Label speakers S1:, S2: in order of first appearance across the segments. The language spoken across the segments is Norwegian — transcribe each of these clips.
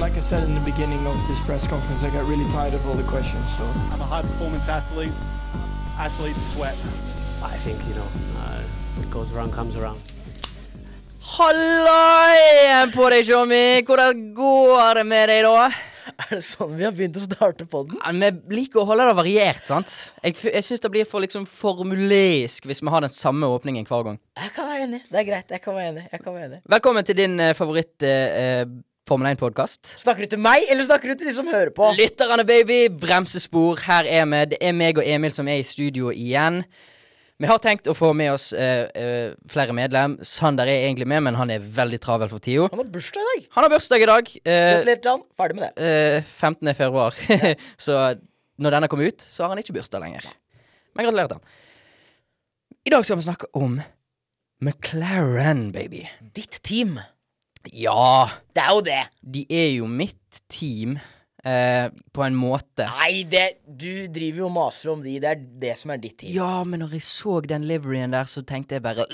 S1: like I said in the beginning of this press conference, I got really tired of all the questions. So
S2: I'm a high performance athlete. Athletes sweat.
S3: I think, you know, uh, what goes around comes around.
S4: Halloi på deg, Tjommi! Hvordan går det med deg, da?
S5: Er det sånn vi har begynt å starte podden?
S4: Ja, men Vi liker å holde det variert, sant? Jeg, f- jeg syns det blir for liksom formulerisk hvis vi har den samme åpningen hver gang.
S5: Jeg kan være enig. Det er greit. Jeg kan være enig. Jeg kan være enig.
S4: Velkommen til din eh, favoritt eh, eh, Formel 1-podkast.
S5: Snakker du til meg, eller snakker du til de som hører på?
S4: Lytterne, baby! Bremsespor, her er vi. Det er meg og Emil som er i studio igjen. Vi har tenkt å få med oss eh, eh, flere medlem. Sander er egentlig med, men han er veldig travel for tida.
S5: Han har bursdag i dag.
S4: Han har bursdag i dag. eh,
S5: Gratulerer til han. Ferdig med det.
S4: Eh, 15. februar. så når denne kommer ut, så har han ikke bursdag lenger. Men gratulerer til han. I dag skal vi snakke om McLaren, baby.
S5: Ditt team.
S4: Ja,
S5: Det er jo det.
S4: de er jo mitt team eh, på en måte.
S5: Nei, det Du driver jo og maser om de. Det er det som er ditt team.
S4: Ja, men når jeg så den liveryen der, så tenkte jeg bare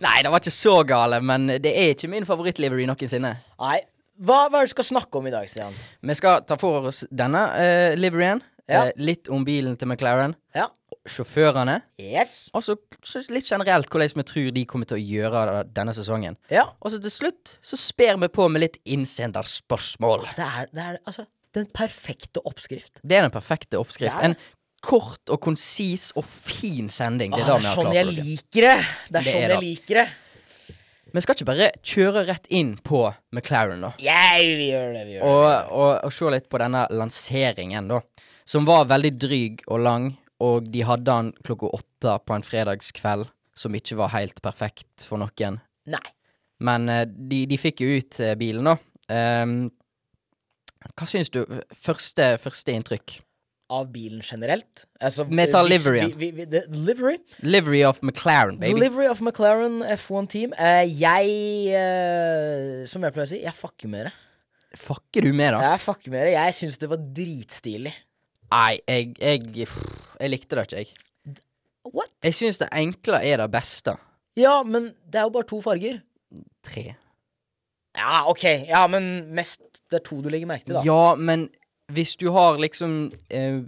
S4: Nei, det var ikke så gale, men det er ikke min favorittlivery noensinne.
S5: Nei. Hva, hva er det du skal snakke om i dag, Stian?
S4: Vi skal ta for oss denne eh, liveryen.
S5: Ja.
S4: Eh, litt om bilen til McLaren.
S5: Ja.
S4: Sjåførene.
S5: Yes.
S4: Og så så litt generelt hvordan vi tror de kommer til å gjøre det denne sesongen.
S5: Ja.
S4: Og så til slutt så sper vi på med litt innsenderspørsmål.
S5: Det er, det er altså den perfekte oppskrift.
S4: Det er den perfekte oppskrift.
S5: Det er
S4: En kort og konsis og fin sending. Det er det vi
S5: Åh, det er
S4: har
S5: sånn
S4: klart
S5: jeg
S4: for dere.
S5: liker det. Det er
S4: Det er
S5: sånn
S4: det.
S5: jeg liker det.
S4: Vi skal ikke bare kjøre rett inn på McLaren, da.
S5: Yeah, vi gjør det, vi gjør det.
S4: Og, og, og se litt på denne lanseringen, da. Som var veldig dryg og lang, og de hadde den klokka åtte på en fredagskveld, som ikke var helt perfekt for noen.
S5: Nei.
S4: Men eh, de, de fikk jo ut eh, bilen nå. Ehm, hva syns du? Første, første inntrykk.
S5: Av bilen generelt. Altså,
S4: Vi tar
S5: eh, hvis
S4: liveryen.
S5: vi- vi- vi- det- Livery?
S4: Livery of McLaren, baby.
S5: Delivery of McLaren F1 Team. Eh, jeg, eh, som jeg pleier å si, jeg fucker med det.
S4: Fucker du med, da?
S5: Jeg fucker med det. Jeg syns det var dritstilig.
S4: Nei, jeg, jeg pff, Jeg likte det ikke, jeg.
S5: What?
S4: Jeg syns det enkle er det beste.
S5: Ja, men det er jo bare to farger.
S4: Tre.
S5: Ja, ok. Ja, men mest Det er to du legger merke til, da.
S4: Ja, men hvis du har liksom eh,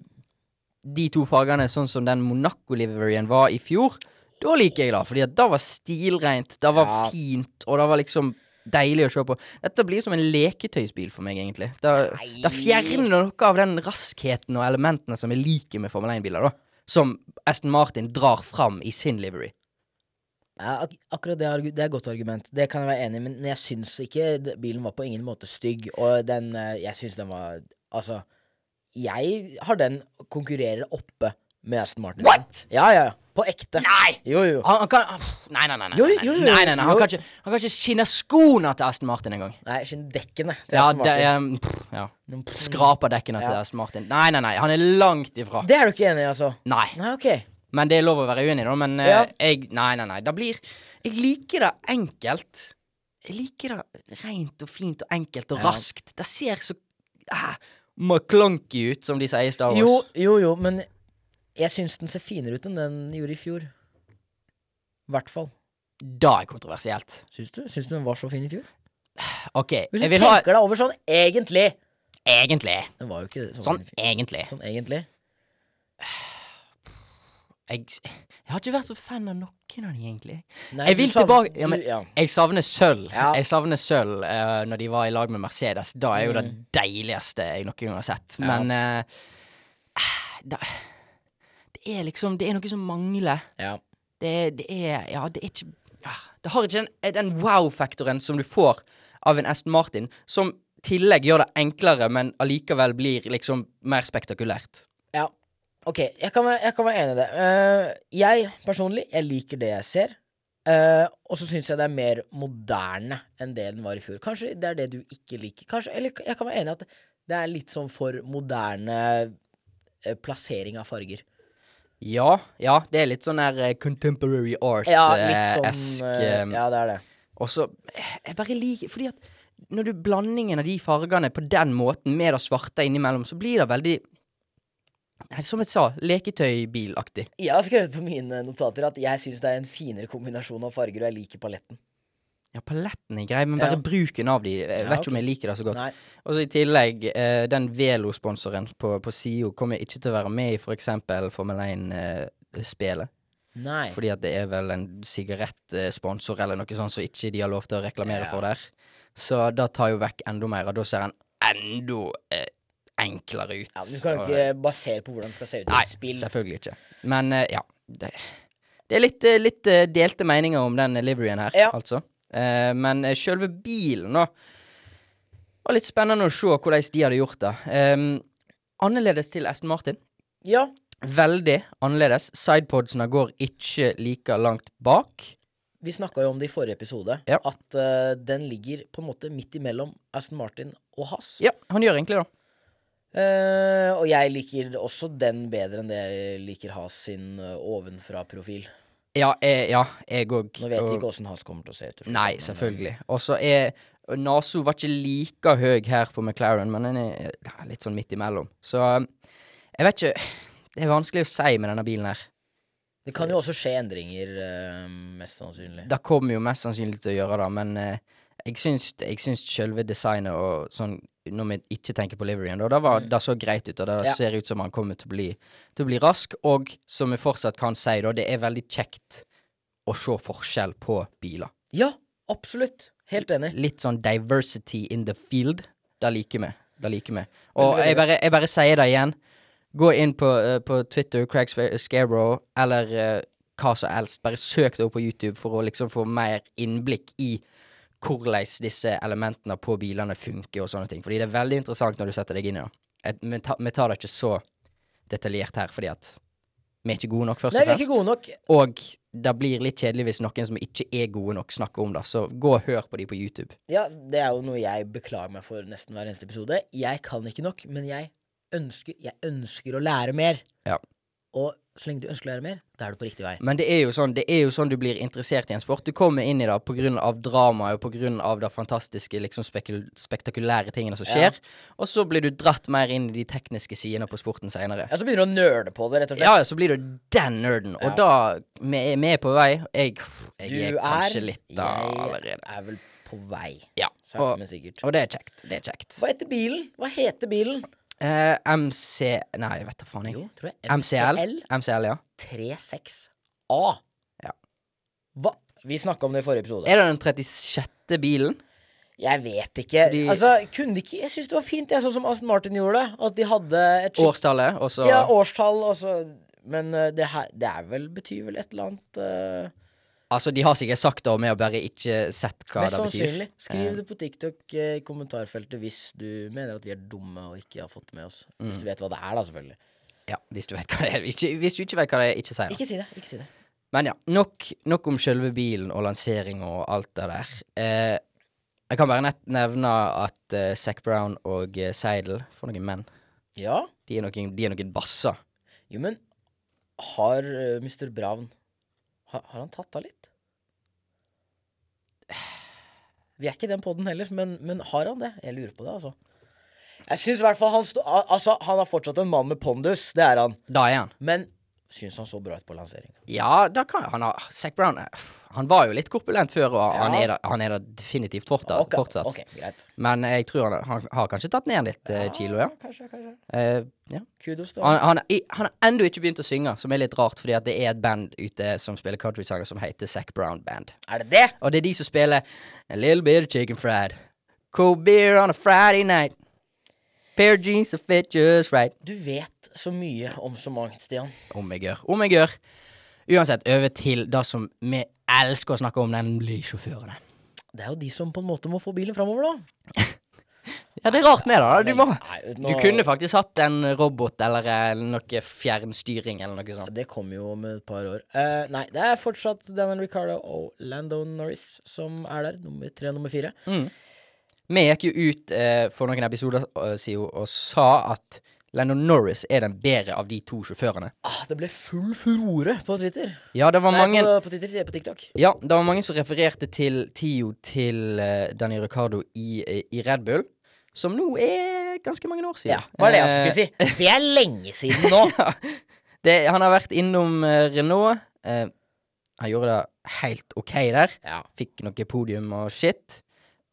S4: de to fargene sånn som den Monaco-liveryen var i fjor, da liker jeg det, fordi at det var stilrent, det var
S5: Ja.
S4: fint, og det var liksom deilig å se på. Dette blir som en leketøysbil for meg, egentlig. Det,
S5: Nei.
S4: det fjerner noe av den raskheten og elementene som jeg liker med Formel 1-biler, da. Som Aston Martin drar fram i sin livery.
S5: Ja, ak akkurat det, argu- det er et godt argument. Det kan jeg være enig i, men jeg syns ikke d- bilen var på ingen måte stygg, og den eh, Jeg syns den var Altså, jeg har den konkurrerer oppe med Aston Martin.
S4: What?!
S5: Ja, ja, ja. På ekte.
S4: Nei!
S5: Jo, jo.
S4: Han, han kan han- pff, Nei, nei, nei. nei,
S5: Jo,
S4: nei,
S5: jo, jo,
S4: nei, nei, nei. Han,
S5: jo.
S4: kan ikke, han kan ikke skinne skoene til Aston Martin engang.
S5: Nei, skinndekkene til
S4: Ja,
S5: Aston
S4: det
S5: Martin.
S4: er um, pff, ja. Skraper dekkene til
S5: Ja.
S4: Aston Martin. Nei, nei, nei, han er langt ifra.
S5: Det er du ikke enig i, altså?
S4: Nei.
S5: Nei, ok.
S4: Men det er lov å være uenig, da. Men eh,
S5: Ja.
S4: jeg Nei, nei, nei. Det blir Jeg liker det enkelt. Jeg liker det rent og fint og enkelt og
S5: Ja.
S4: raskt. Det ser så ah, McClunky ut, som de sier i Star Wars.
S5: Jo, jo, jo, men jeg syns den ser finere ut enn den gjorde i fjor. I hvert fall.
S4: Da er kontroversielt.
S5: Syns du? Syns du den var så fin i fjor?
S4: OK,
S5: Hvis
S4: jeg
S5: du
S4: vil ha
S5: tenker deg over sånn egentlig
S4: Egentlig.
S5: Den var jo ikke sånn,
S4: Sånn
S5: fin i fjor.
S4: egentlig.
S5: sånn egentlig.
S4: Jeg, jeg har ikke vært så fan av noen av de, egentlig.
S5: Nei,
S4: Jeg
S5: du
S4: vil
S5: savner-
S4: tilbake- ja, men-
S5: du, ja.
S4: Jeg savner sølv.
S5: Ja.
S4: Jeg savner sølv eh, når de var i lag med Mercedes. Da er jo det deiligste jeg noen gang har sett.
S5: Mm. Ja.
S4: Men eh, da, Det er liksom Det er noe som mangler.
S5: ja.
S4: Det, det er Ja, det er ikke ja, Det har ikke den, eh, den wow-faktoren som du får av en Aston Martin, som i tillegg gjør det enklere, men allikevel blir liksom mer spektakulært.
S5: Ja. Ok, jeg kan, være- jeg kan være enig i det. Eh, jeg personlig, jeg liker det jeg ser. Eh, og så syns jeg det er mer moderne enn det den var i fjor. Kanskje det er det du ikke liker. Kanskje, eller jeg kan være enig i at det er litt sånn for moderne eh, plassering av farger.
S4: Ja, ja, det er litt sånn der eh, contemporary
S5: Ja, litt sånn
S4: art-esk.
S5: eh, Ja, det er det.
S4: Og så eh, Jeg bare liker Fordi at når du blandingen av de fargene på den måten, med det svarte innimellom, så blir det veldig Nei, Som jeg sa, leketøybilaktig.
S5: Jeg har skrevet på mine notater at jeg syns det er en finere kombinasjon av farger, og jeg liker paletten.
S4: Ja, paletten er grei, men
S5: Ja.
S4: bare bruken av de Jeg vet
S5: Ja,
S4: ikke
S5: ok.
S4: om jeg liker det så godt.
S5: Nei.
S4: Og så i tillegg, eh, den Velo-sponsoren på, på SIO kommer ikke til å være med i f.eks. Formel eh, 1-spelet.
S5: Nei.
S4: Fordi at det er vel en sigarettsponsor eller noe sånt som ikke de har lov til å reklamere
S5: Ja.
S4: for der. Så da tar jo vekk enda mer, og da ser han enda eh, enklere ut.
S5: Ja, men du kan
S4: Og-
S5: ikke basere på hvordan det skal se ut i
S4: Nei,
S5: et spill.
S4: selvfølgelig ikke. Men eh, ja. Det, det er litt, eh, litt eh, delte meninger om den liveryen her,
S5: Ja.
S4: altså. Eh, men eh, selve bilen, da var litt spennende å se hvordan de hadde gjort det. Ehm, annerledes til Aston Martin.
S5: Ja,
S4: Veldig annerledes. Sidepodsene går ikke like langt bak.
S5: vi snakka jo om det i forrige episode,
S4: Ja.
S5: at eh, den ligger på en måte midt imellom Aston Martin og Haas.
S4: Ja, han gjør egentlig det.
S5: Eh, og jeg liker også den bedre enn det jeg liker Haas sin eh, ovenfra-profil.
S4: Ja, jeg, ja, jeg òg.
S5: Nå vet jeg ikke åssen Haas kommer til å se ut. til slutt,
S4: Nei,
S5: men, eh,
S4: selvfølgelig. Og så er Naso var ikke like høy her på McLaren, men den er ja, litt sånn midt imellom. Så um, jeg vet ikke Det er vanskelig å si med denne bilen her.
S5: Det kan jo også skje endringer, eh, mest sannsynlig.
S4: Det kommer jo mest sannsynlig til å gjøre det, men eh, jeg syns, jeg syns selve designet og sånn når vi ikke tenker på liveryen, da, det, var, det så greit ut, og det
S5: Ja.
S4: ser ut som han kommer til å bli, til å bli rask. Og som vi fortsatt kan si, da, det er veldig kjekt å se forskjell på biler.
S5: Ja, absolutt. Helt enig.
S4: litt sånn diversity in the field. Det liker vi. Det liker vi.
S5: Veldig,
S4: Og
S5: veldig
S4: jeg bare, jeg bare sier det igjen. Gå inn på, eh, på Twitter, Craig Sca- Scarecrow, eller eh, hva som helst. Bare søk det opp på YouTube for å liksom få mer innblikk i hvordan disse elementene på bilene funker og sånne ting. Fordi det er veldig interessant når du setter deg inn i det. Et- Vi ta- vi tar det ikke så detaljert her, fordi at vi er ikke gode nok, først
S5: Nei,
S4: og
S5: vi er ikke
S4: fremst.
S5: gode nok.
S4: Og det blir litt kjedelig hvis noen som ikke er gode nok, snakker om det. Så gå og hør på de på YouTube.
S5: Ja, det er jo noe jeg beklager meg for nesten hver eneste episode. Jeg kan ikke nok, men jeg ønsker, jeg ønsker å lære mer.
S4: Ja.
S5: Og så lenge du ønsker å lære mer, da er du på riktig vei.
S4: Men det er, jo sånn, det er jo sånn du blir interessert i en sport. Du kommer inn i det pga. dramaet og pga. det fantastiske, liksom spekul spektakulære tingene som
S5: Ja.
S4: skjer. Og så blir du dratt mer inn i de tekniske sidene på sporten seinere.
S5: Ja, så begynner du å nøle på det, rett og
S4: Ja, altså,
S5: slett.
S4: så blir du den nerden, og
S5: Ja.
S4: da vi er vi er på vei. Jeg, jeg er
S5: du
S4: kanskje litt da
S5: jeg
S4: allerede.
S5: er vel på vei,
S4: Ja.
S5: sakte,
S4: Og,
S5: men sikkert.
S4: og det er kjekt. Det er kjekt.
S5: Hva heter bilen? Hva heter bilen?
S4: Eh, MC Nei, jeg vet da faen, jeg.
S5: Jo, tror jeg
S4: MCL? MCL, ja.
S5: 36A.
S4: Ja.
S5: Hva? Vi snakka om det i forrige episode.
S4: Er det den 36. bilen?
S5: Jeg vet ikke.
S4: Fordi-
S5: Altså, kunne de ikke Jeg syns det var fint, jeg, sånn som Aston Martin gjorde det. At de hadde et skikkelig
S4: Årstallet, og så
S5: Ja, årstall, og så Men eh, det her Det er vel betyr vel et eller annet eh,
S4: Altså, de har sikkert sagt det, og vi har bare ikke sett hva
S5: Mest
S4: det betyr.
S5: sannsynlig. Skriv det på TikTok eh, i kommentarfeltet hvis du mener at vi er dumme og ikke har fått det med oss. Hvis du vet hva det er, da, selvfølgelig.
S4: Ja, hvis du vet hva det er. Ikke, hvis du ikke vet hva det er, ikke si det.
S5: Ikke si det. Ikke si det.
S4: Men ja, nok, nok om selve bilen og lansering og alt det der. Eh, jeg kan bare nett nevne at eh, Zac Brown og eh, Seidel, for noen menn,
S5: Ja.
S4: de er noen, de er noen basser.
S5: Jo, men har eh, Mr. Brown har, har han tatt av litt? Vi er ikke den podden heller, men, men har han det? Jeg lurer på det, altså. Jeg syns i hvert fall han stå... al- Altså, han er fortsatt en mann med pondus, det er han.
S4: Da er han.
S5: Men syns han så bra ut på lansering?
S4: Ja, da kan han ha Zac Brown eh, Han var jo litt korpulent før, og han,
S5: Ja.
S4: er da, han er da definitivt fortsatt.
S5: Ok,
S4: fortsatt.
S5: ok, greit.
S4: Men eh, jeg tror han, han har kanskje tatt ned litt eh, kilo, ja.
S5: Kanskje, kanskje.
S4: Eh, ja.
S5: Kudos til
S4: Han,
S5: han.
S4: han, er i- han har ennå ikke begynt å synge, som er litt rart, fordi at det er et band ute som spiller countrysanger som heter Zac Brown Band.
S5: Er det det?
S4: Og det er de som spiller A Little Bit of Chicken Fried, Cold Beer on a Friday Night, Pair of Jeans that Fit Just Right.
S5: Du vet så mye om så mangt, Stian.
S4: Om jeg gjør, om jeg gjør. Uansett, over til det som vi elsker å snakke om, nemlig sjåførene.
S5: Det er jo de som på en måte må få bilen framover, da.
S4: Ja, det er rart med det. da. Du, må,
S5: Nei, uten
S4: du
S5: å-
S4: kunne faktisk hatt en robot eller eh, noe fjernstyring eller noe sånt.
S5: Det kommer jo om et par år. Eh, nei, det er fortsatt Daniel Ricardo og Lando Norris som er der. Nummer tre, nummer fire.
S4: Mm. Vi gikk jo ut eh, for noen episoder eh, siden og sa at Lennon Norris er den bedre av de to sjåførene.
S5: Ah, det ble full furore på Twitter.
S4: Ja, det var mange,
S5: Nei, på, på Twitter, sier jeg, på TikTok.
S4: ja, det var mange som refererte til Tio til eh, Danny Ricardo i, eh, i Red Bull, som nå er ganske mange år siden.
S5: Ja, var det jeg skulle si. Det er lenge siden nå.
S4: Eh, det, han har vært innom eh, Renault. Eh, han gjorde det helt OK der.
S5: Ja.
S4: Fikk noe podium og shit.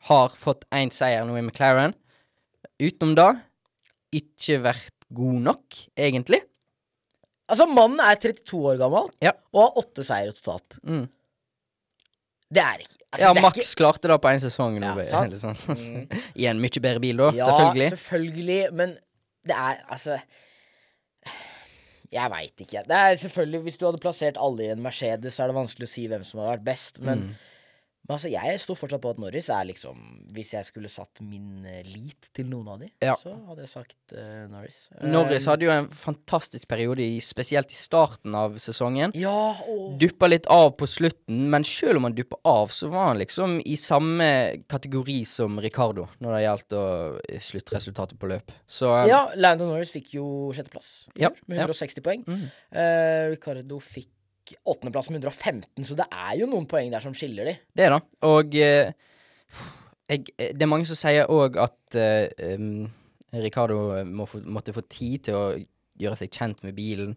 S4: Har fått én seier nå i McLaren. Utenom da, ikke vært god nok, egentlig.
S5: Altså, mannen er 32 år gammel
S4: Ja.
S5: og har åtte seire totalt.
S4: Mm.
S5: Det er ikke altså,
S4: ja,
S5: det er
S4: Max
S5: ikke-
S4: klarte det på én sesong.
S5: Ja,
S4: nå,
S5: sant. Mm.
S4: eller sånn. I en mye bedre bil, da,
S5: Ja,
S4: selvfølgelig.
S5: selvfølgelig, Men det er altså Jeg veit ikke. Det er selvfølgelig Hvis du hadde plassert alle i en Mercedes, så er det vanskelig å si hvem som hadde vært best. Men,
S4: Mm.
S5: men altså, jeg står fortsatt på at Norris er liksom Hvis jeg skulle satt min eh, lit til noen av de,
S4: Ja.
S5: så hadde jeg sagt eh, Norris.
S4: Norris
S5: Eh,
S4: hadde jo en fantastisk periode, i, spesielt i starten av sesongen.
S5: Eh, Ja, og
S4: Duppa litt av på slutten, men selv om han duppa av, så var han liksom i samme kategori som Ricardo når det gjaldt å eh, sluttresultatet på løp. Så eh,
S5: ja, Lando Norris fikk jo sjetteplass i
S4: Ja,
S5: år, med
S4: ja.
S5: 160 poeng.
S4: Mm.
S5: Eh, Ricardo fikk åttendeplass med 115, så det er jo noen poeng der som skiller de.
S4: det er det. Og eh, jeg, eh, det er mange som sier òg at eh, em, Ricardo eh, må få, måtte få tid til å gjøre seg kjent med bilen.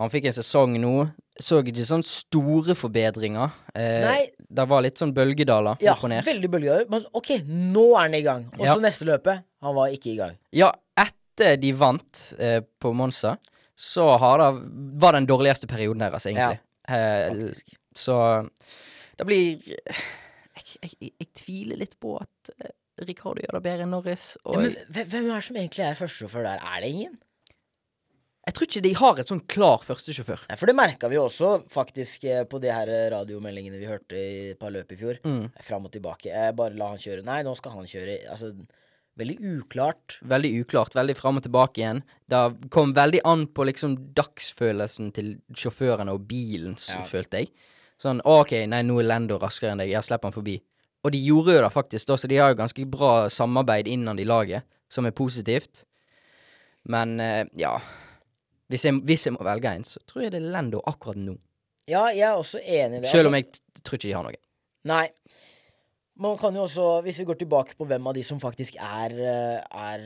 S4: Han fikk en sesong nå. Så ikke sånne store forbedringer. Eh,
S5: Nei.
S4: Det var litt sånn bølgedaler
S5: Ja,
S4: opp og ned.
S5: veldig bølgedaler. Men ok, nå er han i gang. Og så
S4: Ja.
S5: neste løpet. Han var ikke i gang.
S4: Ja, etter de vant eh, på Monza, så har det, var det den dårligste perioden deres, egentlig. Eh,
S5: faktisk.
S4: så det blir jeg, jeg, jeg tviler litt på at eh, Ricardo gjør det bedre enn Norris. Og
S5: Ja, men hve- hvem er det som egentlig er førstesjåfør der? Er det ingen?
S4: jeg tror ikke de har et sånn klar førstesjåfør.
S5: Nei, For det merka vi jo også faktisk eh, på de her eh, radiomeldingene vi hørte i et par løp i fjor.
S4: Mm.
S5: Fram og tilbake. Eh, Bare la han kjøre. Nei, nå skal han kjøre. Altså, veldig uklart.
S4: Veldig uklart, veldig fram og tilbake igjen. Det kom veldig an på liksom dagsfølelsen til sjåførene og bilen, s-
S5: Ja.
S4: følte jeg. Sånn «Å, OK, nei, nå er Lendo raskere enn deg, jeg slipper han forbi. Og de gjorde jo det faktisk, da, så de har jo ganske bra samarbeid innad i laget, som er positivt. Men eh, ja hvis jeg, hvis jeg må velge en, så tror jeg det er Lendo akkurat nå.
S5: Ja, jeg er altså også enig i det.
S4: Selv om jeg t- tror ikke de har noe.
S5: Nei. Man kan jo også, hvis vi går tilbake på hvem av de som faktisk er, eh, er,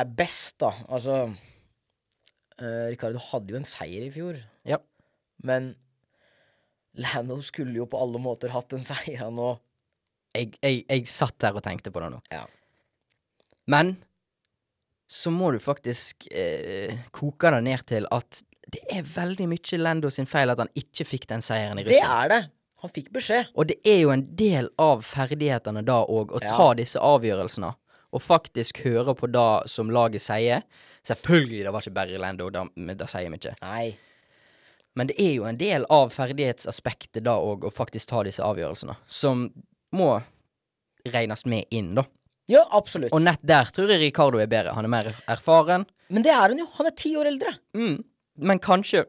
S5: er best, da Altså eh, Ricardo hadde jo en seier i fjor,
S4: Ja.
S5: men Lando skulle jo på alle måter hatt en seier, han òg.
S4: Jeg, jeg, jeg satt der og tenkte på det nå.
S5: Ja.
S4: Men så må du faktisk eh, koke det ned til at det er veldig mye Lando sin feil at han ikke fikk den seieren i
S5: Det
S4: Russland.
S5: er det! Han fikk beskjed.
S4: Og det er jo en del av ferdighetene da òg, å
S5: Ja.
S4: ta disse avgjørelsene. Og faktisk høre på det som laget sier. Selvfølgelig, det var ikke bare Lando, da- men det sier vi ikke.
S5: Nei.
S4: Men det er jo en del av ferdighetsaspektet da òg, å faktisk ta disse avgjørelsene. Som må regnes med inn, da.
S5: Ja, absolutt.
S4: Og nett der tror jeg Ricardo er bedre. Han er mer erfaren.
S5: Men det er han jo. Han er ti år eldre.
S4: Mm. Men kanskje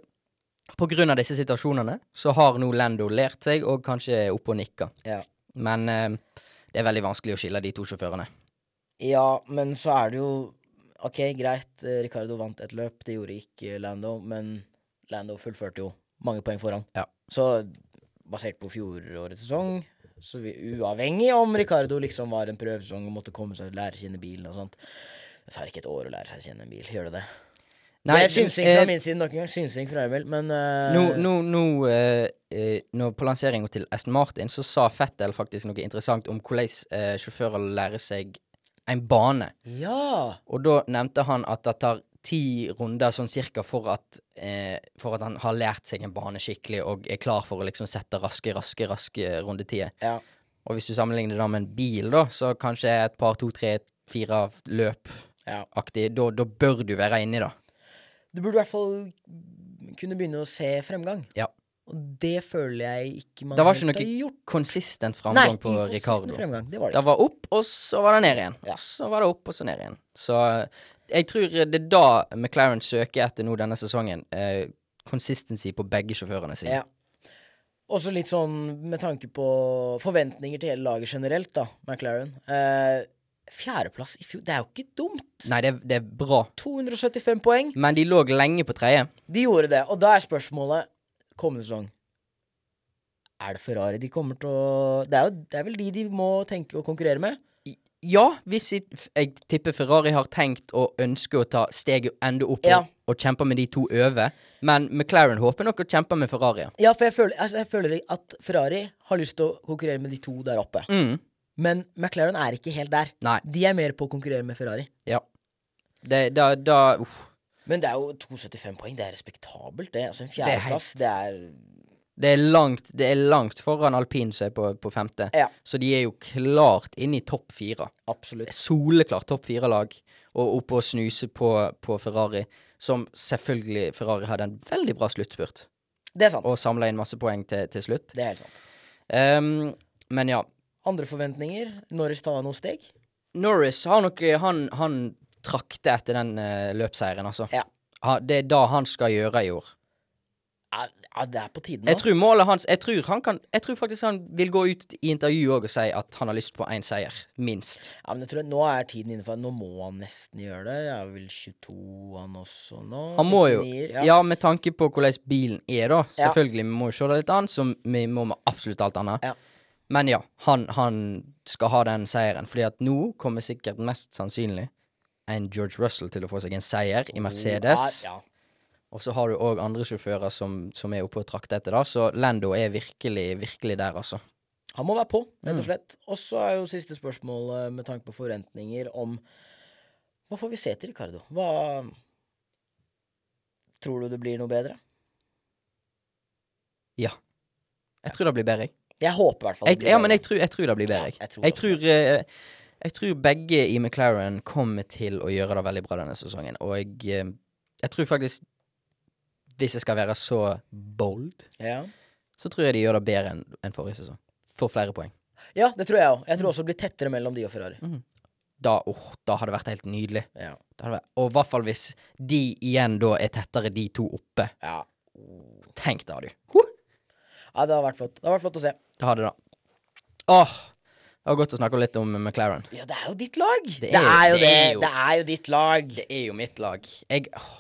S4: på grunn av disse situasjonene, så har nå Lando lært seg, og kanskje er oppe og nikker.
S5: Ja.
S4: Men eh, det er veldig vanskelig å skille de to sjåførene.
S5: Ja, men så er det jo Ok, greit, eh, Ricardo vant et løp, det gjorde ikke Lando, men Lando fullførte jo mange poeng foran.
S4: Ja.
S5: Så basert på fjorårets sesong, så vi, uavhengig om Ricardo liksom var en prøvesesong og måtte komme seg lære kjenne bilen og sånt Det tar ikke et år å lære seg kjenne en bil, gjør det det? det er synsing fra
S4: eh,
S5: min side nok en gang, synsing fra Emil, men eh,
S4: Nå, nå, nå, eh, eh, nå på lanseringa til Aston Martin så sa Fettel faktisk noe interessant om hvordan eh, sjåfører lærer seg en bane.
S5: Ja!
S4: Og da nevnte han at det tar ti runder sånn cirka for at, eh, for at han har lært seg en bane skikkelig og er klar for å liksom sette raske, raske, raske rundetider.
S5: ja.
S4: Og hvis du sammenligner det da med en bil, da, så kanskje et par, to, tre, fire løp-aktig,
S5: ja.
S4: da, da bør du være inni, da.
S5: Du burde i hvert fall kunne begynne å se fremgang.
S4: Ja.
S5: Og det føler jeg ikke man
S4: Det var ikke
S5: helt
S4: noe
S5: har gjort.
S4: Konsistent framgang på
S5: inconsistent
S4: Ricardo.
S5: Fremgang, det var det.
S4: Det var opp, og så var det ned igjen.
S5: Ja.
S4: Så var det opp, og så ned igjen. Så eh, jeg tror det er da McLaren søker etter nå denne sesongen. Eh, consistency på begge sjåførene
S5: ikke.
S4: sine.
S5: Ja. Også litt sånn med tanke på forventninger til hele laget generelt, da, McLaren. Eh, fjerdeplass i fjor, det er jo ikke dumt!
S4: Nei, det, er- det er bra.
S5: 275 poeng.
S4: Men de lå lenge på tredje.
S5: De gjorde det, og da er spørsmålet kommende sesong Er det Ferrari de kommer til å Det er, jo, det er vel de de må tenke å konkurrere med?
S4: ja, hvis jeg, jeg tipper Ferrari har tenkt og ønsker å ta steget enda opp
S5: Ja.
S4: og, og kjempe med de to over, men McLaren håper nok å kjempe med Ferrari.
S5: Ja, for jeg føler, altså, jeg føler at Ferrari har lyst til å konkurrere med de to der oppe.
S4: Mm.
S5: Men McLaren er ikke helt der.
S4: Nei.
S5: De er mer på å konkurrere med Ferrari.
S4: Ja. Det, da, da uff.
S5: Men det er jo 2,75 poeng. Det er respektabelt, det. Altså, en
S4: er
S5: fjerdeplass,
S4: helt-
S5: det er
S4: Det er langt, det er langt foran alpin som er på, på femte.
S5: Ja.
S4: Så de er jo klart inne i topp fire.
S5: Absolutt.
S4: Soleklart topp fire-lag. Og oppe og snuse på, på Ferrari, som selvfølgelig Ferrari hadde en veldig bra sluttspurt.
S5: Det er sant.
S4: Og samla inn masse poeng til, til slutt.
S5: Det er helt sant.
S4: Ehm, men ja.
S5: Andre forventninger? Norris tar noen steg?
S4: Norris har nok Han, han trakter etter den eh, løpseieren, altså.
S5: Ja.
S4: Ha- det er da han skal gjøre i år.
S5: Ja, ja, det er på tide nå.
S4: Jeg tror målet hans Jeg tror, han kan, jeg tror faktisk han vil gå ut i intervju òg og si at han har lyst på én seier. Minst.
S5: Ja, men jeg tror at Nå er tiden innenfor. Nå må han nesten gjøre det. Jeg er vel 22 han også nå.
S4: Han må jo
S5: 99,
S4: Ja, med tanke på hvordan bilen er, da. Selvfølgelig, vi må jo se det litt an, som vi må med absolutt alt annet.
S5: Ja.
S4: Men ja, han, han skal ha den seieren, fordi at nå kommer sikkert mest sannsynlig en George Russell til å få seg en seier i Mercedes.
S5: Ja, ja.
S4: Og så har du òg andre sjåfører som, som er oppe og trakter etter, da. Så Lando er virkelig, virkelig der, altså.
S5: Han må være på,
S4: Mm.
S5: rett og slett. Og så er jo siste spørsmål eh, med tanke på forventninger om Hva får vi se til Ricardo? Hva Tror du det blir noe bedre?
S4: Ja. Jeg tror det blir bedre, jeg.
S5: Jeg håper i hvert fall
S4: jeg ja, men jeg tror, jeg tror det blir bedre, jeg.
S5: Ja, jeg tror
S4: jeg,
S5: det
S4: tror,
S5: også.
S4: eh, jeg tror begge i McLaren kommer til å gjøre det veldig bra denne sesongen, og jeg, eh, jeg tror faktisk Hvis jeg skal være så bold,
S5: ja.
S4: så tror jeg de gjør det bedre enn enn forrige sesong. Får flere poeng.
S5: ja, det tror jeg òg. Jeg tror også det blir tettere mellom de og Ferrari.
S4: Da, åh, da hadde det vært helt nydelig.
S5: Ja.
S4: Det hadde vært, og i hvert fall hvis de igjen da er tettere, de to oppe.
S5: ja.
S4: Tenk da, du.
S5: ja det har vært flott. Det har vært flott å se.
S4: Det hadde det. Åh, det var godt å snakke litt om McLaren.
S5: Ja, det er jo ditt lag! Det
S4: er
S5: er,
S4: jo-
S5: jo
S4: det
S5: det.
S4: er jo-
S5: Det er jo ditt lag.
S4: Det er jo mitt lag. Jeg, åh,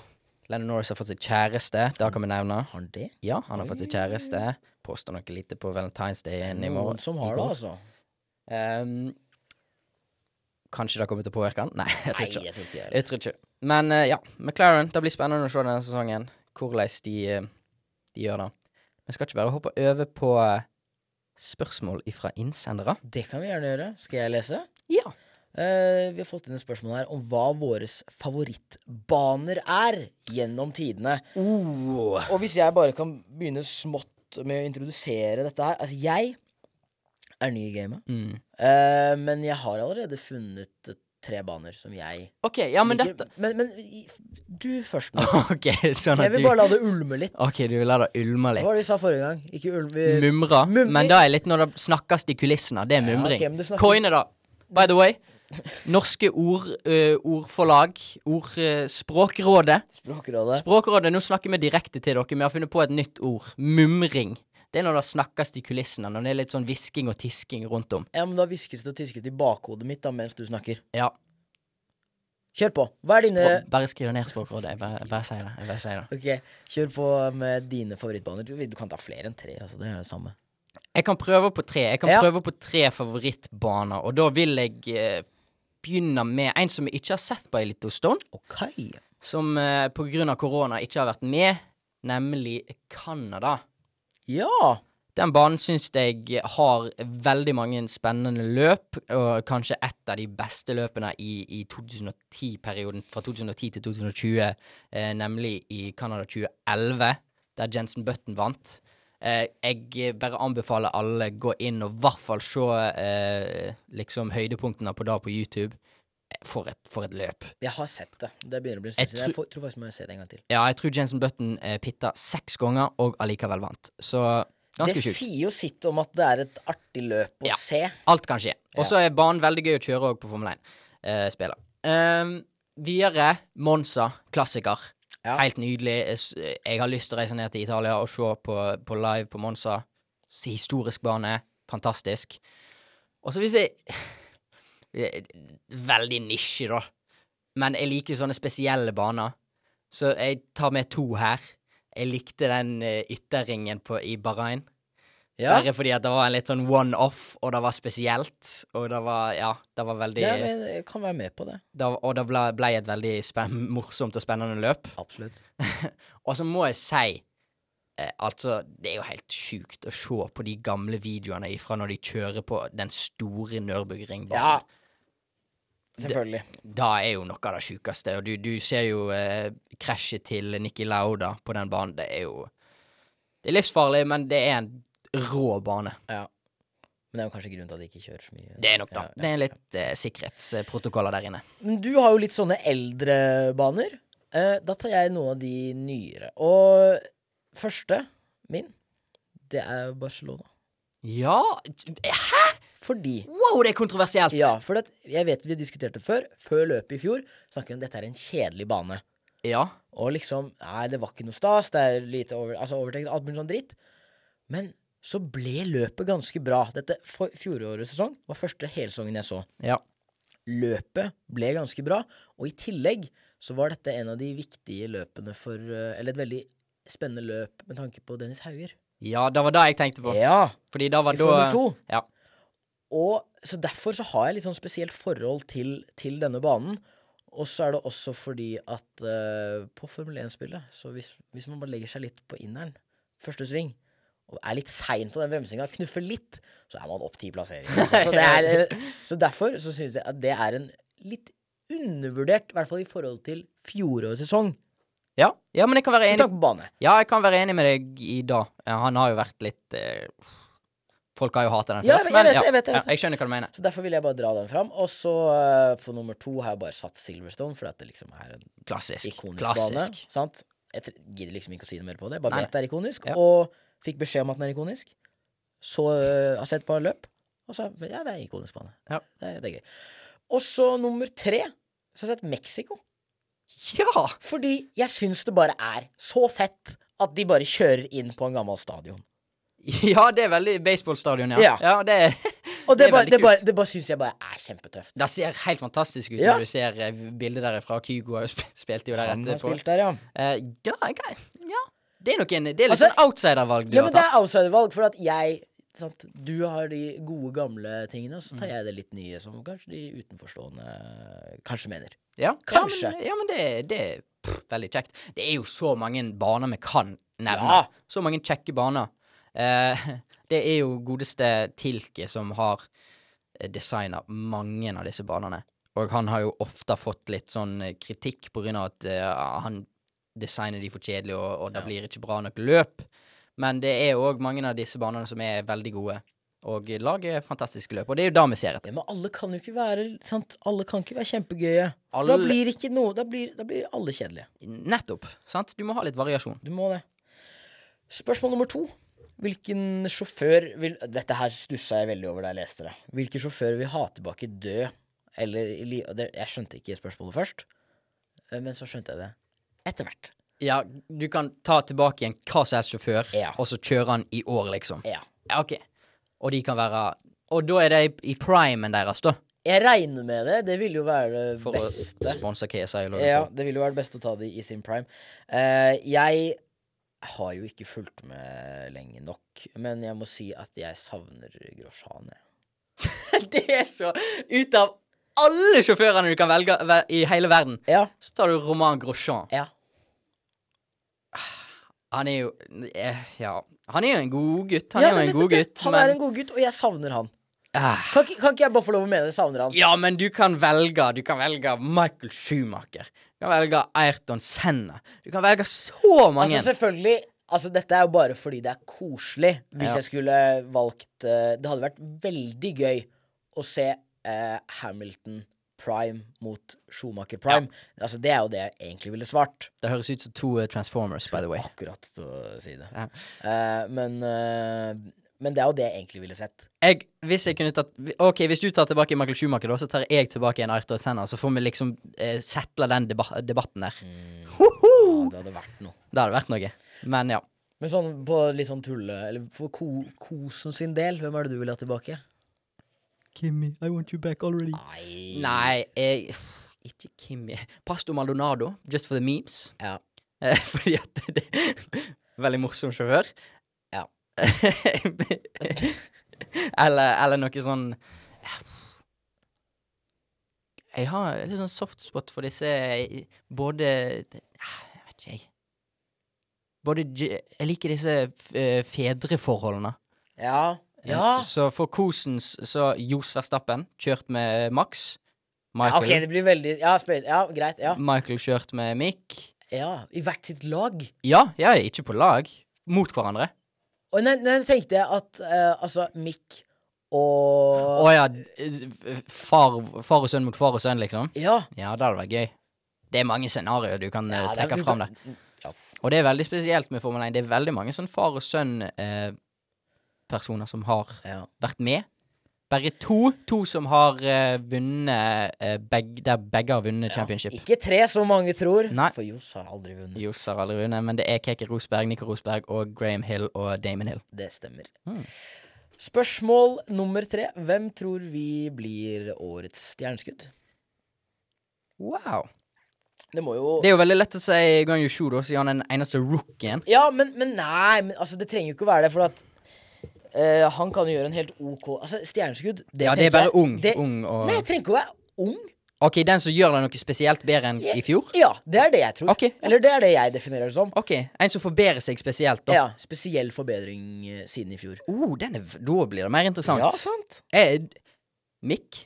S4: Lennon Norris har fått seg kjæreste, det kan vi nevne.
S5: Har han det?
S4: Ja, han har fått seg kjæreste. Poster noe lite på Valentine's Day igjen i morgen.
S5: Noen som har det, altså.
S4: Ehm, kanskje det kommer til å påvirke han? Nei, jeg
S5: Nei,
S4: tror ikke.
S5: jeg tror ikke det.
S4: Jeg tror ikke. Men eh, ja, McLaren, det blir spennende å se denne sesongen. Hvordan de, eh, de gjør det. Vi skal ikke bare hoppe over på eh, spørsmål ifra innsendere.
S5: Det kan vi gjerne gjøre. Skal jeg lese?
S4: Ja.
S5: Eh, vi har fått inn et spørsmål her om hva våre favorittbaner er gjennom tidene.
S4: Oh.
S5: Og hvis jeg bare kan begynne smått med å introdusere dette her Altså, jeg er ny i gamet,
S4: Mm.
S5: eh, men jeg har allerede funnet eh, tre baner som jeg
S4: OK, ja, men
S5: liker.
S4: dette
S5: Men, men i- du først nå.
S4: OK, sånn
S5: Jeg
S4: at
S5: vil
S4: du
S5: bare la det ulme litt. Hva
S4: OK, du vil la det ulme
S5: var det vi
S4: litt.
S5: sa forrige gang? Ikke ulme
S4: Mumre.
S5: Mum-
S4: Men det er litt når det snakkes i kulissene. Det er
S5: Eh, Ja,
S4: mumring.
S5: ok, men det snakkes-
S4: Coine, da. By the way. Norske ord, eh, ordforlag. Ord, eh, språkrådet.
S5: Språkrådet.
S4: Språkrådet, nå snakker vi direkte til dere. Vi har funnet på et nytt ord. Mumring. Det er når det snakkes i kulissene. Når det er litt sånn hvisking og tisking rundt om.
S5: Ja, men da hviskes det og tiskes i bakhodet mitt da mens du snakker.
S4: Ja.
S5: Kjør på. Hva er dine
S4: Språ- Bare skriv det ned Språkrådet. Jeg bare, jeg bare sier det. Jeg bare sier det.
S5: Ok, kjør på med dine favorittbaner. Du, du kan ta flere enn tre. altså Det er det samme.
S4: Jeg kan prøve på tre. Jeg kan
S5: Ja.
S4: prøve på tre favorittbaner, og da vil jeg eh, begynne med en som jeg ikke har sett på i Little Stone.
S5: Ok.
S4: som eh, på grunn av korona ikke har vært med, nemlig Canada.
S5: Ja!
S4: Den banen syns jeg har veldig mange spennende løp, og kanskje et av de beste løpene i, i 2010-perioden, fra 2010 til 2020, eh, nemlig i Canada 2011, der Jensen Button vant. Eh, jeg bare anbefaler alle gå inn og i hvert fall se eh, liksom høydepunktene på det på YouTube. Eh, For et, for et løp.
S5: Jeg har sett det. Det begynner å bli en
S4: Jeg
S5: stund siden. Jeg
S4: tror-
S5: får- tror faktisk må jeg se det en gang til.
S4: Ja, jeg tror Jensen Button eh, pitta seks ganger og allikevel vant. Så ganske
S5: det
S4: sjukt.
S5: sier jo sitt om at det er et artig løp å
S4: Ja.
S5: se.
S4: Alt kan skje. Og så er banen veldig gøy å kjøre òg på Formel 1-spiller. Ehm, videre Monza, klassiker.
S5: Ja.
S4: Helt nydelig. Jeg s- Jeg har lyst til å reise ned til Italia og se på, på live på Monza. S- Historisk bane. Fantastisk. Og så hvis jeg Veldig nisje, da. Men jeg liker sånne spesielle baner. Så jeg tar med to her. Jeg likte den eh, ytterringen på, i Bahrain.
S5: Ja.
S4: Bare fordi at det var en litt sånn one-off, og det var spesielt. Og det var, ja, det var veldig
S5: Ja, men jeg kan være med på det.
S4: det var- Og det ble, ble et veldig spenn, morsomt og spennende løp.
S5: Absolutt.
S4: Og så må jeg si eh, Altså, det er jo helt sjukt å se på de gamle videoene ifra når de kjører på den store
S5: Ja.
S4: Nürburgring-banen.
S5: Selvfølgelig.
S4: Da er jo noe av det sjukeste. Og du, du ser jo eh, krasjet til Nikki Lauda på den banen. Det er jo Det er livsfarlig, men det er en rå bane.
S5: Ja. Men det er jo kanskje grunnen til at de ikke kjører så mye.
S4: Det er nok, da.
S5: Ja, ja.
S4: Det er litt eh, sikkerhetsprotokoller der inne.
S5: Men du har jo litt sånne eldre baner. Eh, da tar jeg noen av de nyere. Og første min, det er Barcelona.
S4: Ja t- Hæ?!
S5: Fordi
S4: Wow, det er kontroversielt!
S5: Ja, for det, jeg vet vi diskuterte det før. Før løpet i fjor snakket vi om dette er en kjedelig bane.
S4: ja.
S5: Og liksom Nei, det var ikke noe stas. Det er lite over, altså overtenkt. Alt mulig sånn dritt. Men så ble løpet ganske bra. Dette for, fjorårets sesong var første helsesongen jeg så.
S4: ja.
S5: løpet ble ganske bra, og i tillegg så var dette en av de viktige løpene for eh, Eller et veldig spennende løp med tanke på Dennis Hauger.
S4: Ja, det var det jeg tenkte på.
S5: Ja,
S4: Fordi det var
S5: i
S4: da
S5: Formel 2.
S4: Ja.
S5: Og så derfor så har jeg litt sånn spesielt forhold til, til denne banen. Og så er det også fordi at eh, på Formel 1-spillet, så hvis, hvis man bare legger seg litt på inneren, første sving, og er litt sein på den bremsinga, knuffer litt, så er man opp ti plasseringer. Så, det er, eh, så derfor så syns jeg at det er en litt undervurdert, i hvert fall i forhold til fjorårets sesong,
S4: Ja. ja, men jeg kan være
S5: med
S4: enig.
S5: tanke på bane.
S4: Ja, jeg kan være enig med deg i det. Eh, Han har jo vært litt eh, Folk har jo hatet den
S5: Ja, jeg vet- jeg vet det,
S4: ja, ja,
S5: jeg vet det, jeg vet det.
S4: jeg skjønner hva du mener.
S5: Så derfor vil jeg bare dra den fram. Og så eh, på nummer to har jeg bare satt Silverstone, fordi at det liksom er en
S4: Klassisk.
S5: ikonisk
S4: Klassisk.
S5: bane. Sant? Jeg tr- gidder liksom ikke å si noe mer på det. Bare
S4: Nei,
S5: vet det er ikonisk.
S4: Ja.
S5: Og fikk beskjed om at den er ikonisk. Så øh, har sett bare løp, og så Ja, det er ikonisk bane.
S4: Ja.
S5: Det, er- det er gøy. Og så nummer tre, så har jeg sett Mexico.
S4: Ja!
S5: Fordi jeg syns det bare er så fett at de bare kjører inn på en gammel stadion.
S4: Ja, det er veldig baseballstadion, ja.
S5: Ja.
S4: det,
S5: Og
S4: Det
S5: det,
S4: er
S5: bare,
S4: veldig
S5: det, bare,
S4: kult.
S5: det bare syns jeg bare er kjempetøft.
S4: det ser helt fantastisk ut
S5: Ja.
S4: når du ser eh, bildet der fra Kygo. har jo sp- Spilte jo der
S5: Han har
S4: etterpå.
S5: spilt der, ja.
S4: Eh, ja, jeg, ja. Det er nok en Det er litt
S5: Altså-
S4: sånn outsidervalg du
S5: Ja, men
S4: har
S5: det er
S4: tatt.
S5: outsidervalg, for at jeg sant, Du har de gode, gamle tingene, og så
S4: Mm.
S5: tar jeg det litt nye, som kanskje de utenforstående kanskje mener.
S4: Ja, Ja,
S5: Kanskje.
S4: men, ja, men det, det er pff, veldig kjekt. Det er jo så mange baner vi kan nevne.
S5: Ja.
S4: Så mange kjekke baner. Eh, det er jo godeste Tilke som har designa mange av disse banene. Og han har jo ofte fått litt sånn eh, kritikk på grunn av at eh, han designer de for kjedelig, og, og det
S5: Ja.
S4: blir ikke bra nok løp. Men det er òg mange av disse banene som er veldig gode, og lager fantastiske løp. Og det er jo det vi ser etter.
S5: Ja, men alle kan jo ikke være sant? Alle kan ikke være kjempegøye. For Da
S4: Alle-
S5: blir ikke noe Da blir, da blir alle kjedelige.
S4: Nettopp. sant? Du må ha litt variasjon.
S5: Du må det. Spørsmål nummer to. Hvilken sjåfør vil Dette her stussa jeg veldig over da jeg leste det. Hvilken sjåfør vil ha tilbake død eller i li... og det- Jeg skjønte ikke spørsmålet først, eh, men så skjønte jeg det etter hvert.
S4: Ja, du kan ta tilbake igjen hva som helst sjåfør,
S5: Ja.
S4: og så kjøre han i år, liksom.
S5: Ja.
S4: Ja, ok. Og de kan være Og da er det i, i primen deres, da.
S5: Jeg regner med det. Det ville jo være det
S4: For å
S5: beste.
S4: sponse KSI. eller
S5: Ja,
S4: noe.
S5: det ville jo være det beste å ta det i sin prime. Eh, jeg har jo ikke fulgt med lenge nok, men jeg må si at jeg savner Grosjan. jeg.
S4: det er så Ut av alle sjåførene du kan velge ve- i hele verden,
S5: Ja,
S4: så tar du Roman Grosjean.
S5: ja.
S4: Han er jo eh, Ja. Han er jo en god gutt. Han
S5: ja,
S4: er jo
S5: det
S4: en
S5: vet
S4: god
S5: jeg.
S4: gutt,
S5: Han er en god gutt, og jeg savner han.
S4: Ah.
S5: Kan ikke, kan ikke jeg bare få lov å mene jeg savner han?
S4: Ja, men du kan velge. Du kan velge Michael Schumacher. Du kan velge Ayrton Senna. Du kan velge så mange.
S5: Altså, selvfølgelig Altså, dette er jo bare fordi det er koselig. Hvis
S4: Ja.
S5: jeg skulle valgt eh, Det hadde vært veldig gøy å se eh, Hamilton prime mot Schumacher prime. Altså, det er jo det jeg egentlig ville svart.
S4: Det høres ut som to eh, Transformers, by the way.
S5: Akkurat til å si det.
S4: Ja.
S5: Eh, men, eh, men det er jo det jeg egentlig ville sett.
S4: Jeg, hvis jeg kunne tatt Ok, hvis du tar tilbake Michael Schumacher, da, så tar jeg tilbake en Ayrton Senna, så får vi liksom eh, settle den deba debatten der.
S5: Ja, det hadde vært noe.
S4: Det hadde vært noe. Men ja.
S5: Men sånn på litt sånn tulle Eller for ko, kosen sin del, hvem er det du vil ha tilbake?
S4: Kimmy, I want you back already.
S5: Nei.
S4: Nei, jeg Ikke Kimmy. Pasto Maldonado, just for the memes.
S5: Ja.
S4: Eh, fordi at det, det Veldig morsom sjåfør.
S5: Ja.
S4: eller, eller noe sånn Jeg har litt sånn softspot for disse eh, både eh, Jeg vet ikke, jeg. Både, j- jeg liker disse f- eh, fedreforholdene.
S5: Ja. Ja.
S4: Eh, Så for Kosens så Jos Verstappen kjørt med Max.
S5: ja.
S4: Michael,
S5: Ok, det blir veldig Ja, spøy, ja greit. Ja.
S4: Michael kjørt med Mick.
S5: ja. I hvert sitt lag.
S4: Ja, ja, ikke på lag. Mot hverandre.
S5: Og nei, nei, tenkte jeg at eh, altså Mick og
S4: Å ja, eh, far, far og sønn mot far og sønn, liksom.
S5: Ja.
S4: Ja, det hadde vært gøy. Det er mange scenarioer du kan eh,
S5: ja, det er-
S4: trekke
S5: du
S4: fram
S5: kan-
S4: der.
S5: Ja.
S4: Og det er veldig spesielt med Formel 1. Det er veldig mange sånn far og sønn-personer som har
S5: Ja.
S4: vært med. Bare to. To som har eh, vunnet eh, begge, Der begge har vunnet championship.
S5: Ikke tre, som mange tror.
S4: Nei.
S5: For Johs har aldri vunnet.
S4: Johs har aldri vunnet, men det er Keke Rosberg, Nico Rosberg og Graham Hill og Damon Hill.
S5: Det stemmer.
S4: Mm.
S5: Spørsmål nummer tre. Hvem tror vi blir årets stjerneskudd?
S4: Wow.
S5: Det må jo
S4: Det er jo veldig lett å si Guan Yushu, da, siden han er den eneste rookien.
S5: Ja, men, men nei, men, altså, det trenger jo ikke å være det, for at eh, han kan jo gjøre en helt OK Altså, stjerneskudd det
S4: Ja, det er
S5: tenker jeg-
S4: bare ung.
S5: det-
S4: ung og
S5: Nei, jeg trenger ikke å være ung.
S4: OK, den som gjør det noe spesielt bedre enn i fjor?
S5: Ja, det er det jeg tror.
S4: Ok, ja.
S5: Eller det er det jeg definerer det som.
S4: OK, en som forbedrer seg spesielt, da.
S5: Ja, Spesiell forbedring eh, siden i fjor.
S4: Oh, den er, da blir det mer interessant.
S5: Ja, sant.
S4: Eh, Mick?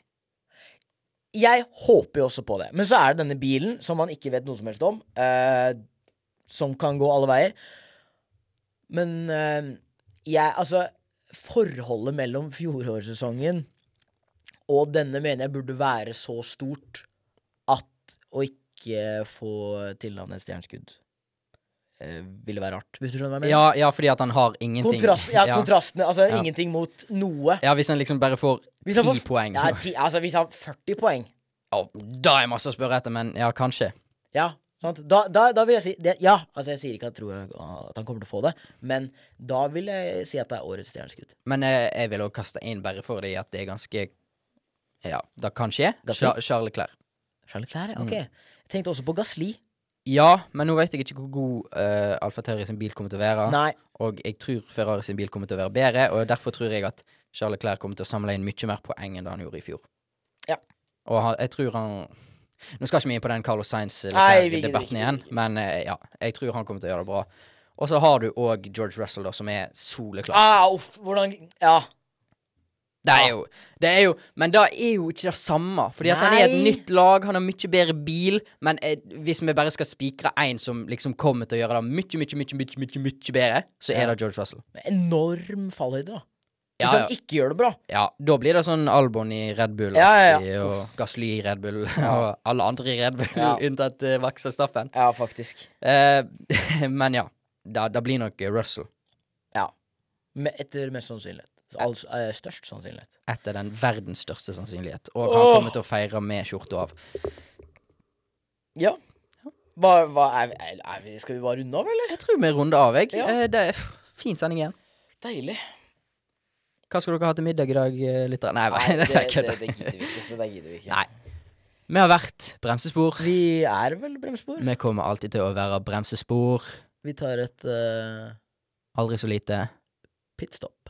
S5: Jeg håper jo også på det. Men så er det denne bilen, som man ikke vet noe som helst om, eh, som kan gå alle veier. Men eh, jeg Altså, forholdet mellom fjorårssesongen og denne mener jeg burde være så stort at å ikke få tilnavnet et stjerneskudd eh, ville være rart, hvis du skjønner hva jeg mener?
S4: Ja, ja, fordi at han har ingenting.
S5: Kontrast, ja,
S4: ja.
S5: kontrastene. Altså
S4: Ja.
S5: ingenting mot noe.
S4: Ja, hvis han liksom bare får
S5: Hvis
S4: ti
S5: han får-
S4: poeng.
S5: Ja, ti, altså, hvis han har 40 poeng
S4: Ja, da er masse å spørre etter, men ja, kanskje.
S5: Ja, sant? Da, da, da vil jeg si det, Ja, altså jeg sier ikke at jeg tror at han kommer til å få det, men da vil jeg si at det er årets stjerneskudd.
S4: Men eh, jeg vil også kaste inn bare fordi at det er ganske Ja, det kan skje.
S5: Gasly?
S4: Cha- Charles Leclerc.
S5: Charles Leclerc, ja,
S4: Mm.
S5: ok. Jeg tenkte også på Gasli.
S4: Ja, men nå vet jeg ikke hvor god uh, Alfa Terry sin bil kommer til å være.
S5: Nei,
S4: Og jeg tror Ferrari sin bil kommer til å være bedre, og derfor tror jeg at Charles Leclerc kommer til å samle inn mye mer poeng enn det han gjorde i fjor.
S5: Ja.
S4: Og han, jeg tror han Nå skal ikke vi inn på den Carlos
S5: Nei, vi gidder ikke,
S4: Sainz-debatten
S5: vi
S4: igjen,
S5: gidder ikke.
S4: men eh, ja, jeg tror han kommer til å gjøre det bra. Og så har du òg George Russell, da, som er soleklar.
S5: ah, uff, hvordan Ja.
S4: Det er jo, det er jo Men det er jo ikke det samme. Fordi at han er et
S5: Nei.
S4: nytt lag, han har mye bedre bil. Men eh, hvis vi bare skal spikre én som liksom kommer til å gjøre det mye, mye, mye, mye, mye, mye bedre, så er det George Russell.
S5: med Enorm fallhøyde, da. Hvis
S4: Ja,
S5: han
S4: ja.
S5: ikke gjør det bra.
S4: Ja, da blir det sånn Albon i Red Bull
S5: Ja, ja, ja.
S4: aktig, og Gasly i Red Bull og alle andre i Red Bull
S5: Ja.
S4: unntatt uh, Max Verstappen.
S5: Ja, faktisk.
S4: Eh, men ja, da, da blir nok Russell
S5: Ja. Med, etter mest sannsynlighet. Altså, eh, størst sannsynlighet.
S4: etter den verdens største sannsynlighet. Og han kommer til å feire med skjorta av.
S5: Ja. Hva, hva er, vi- er, er vi Skal vi bare runde av, eller?
S4: Jeg tror vi runder av, jeg.
S5: Ja.
S4: Eh, det er pff, fin sending igjen.
S5: Deilig.
S4: Hva skal dere ha til middag i dag, eh, lyttere? Nei,
S5: Nei,
S4: det,
S5: det,
S4: er
S5: det,
S4: kødd.
S5: det, gidder vi ikke. Det gidder vi ikke.
S4: Nei. Vi har vært bremsespor.
S5: Vi er vel bremsspor.
S4: Vi kommer alltid til å være bremsespor.
S5: Vi tar et eh,
S4: Aldri så lite.
S5: pitstop.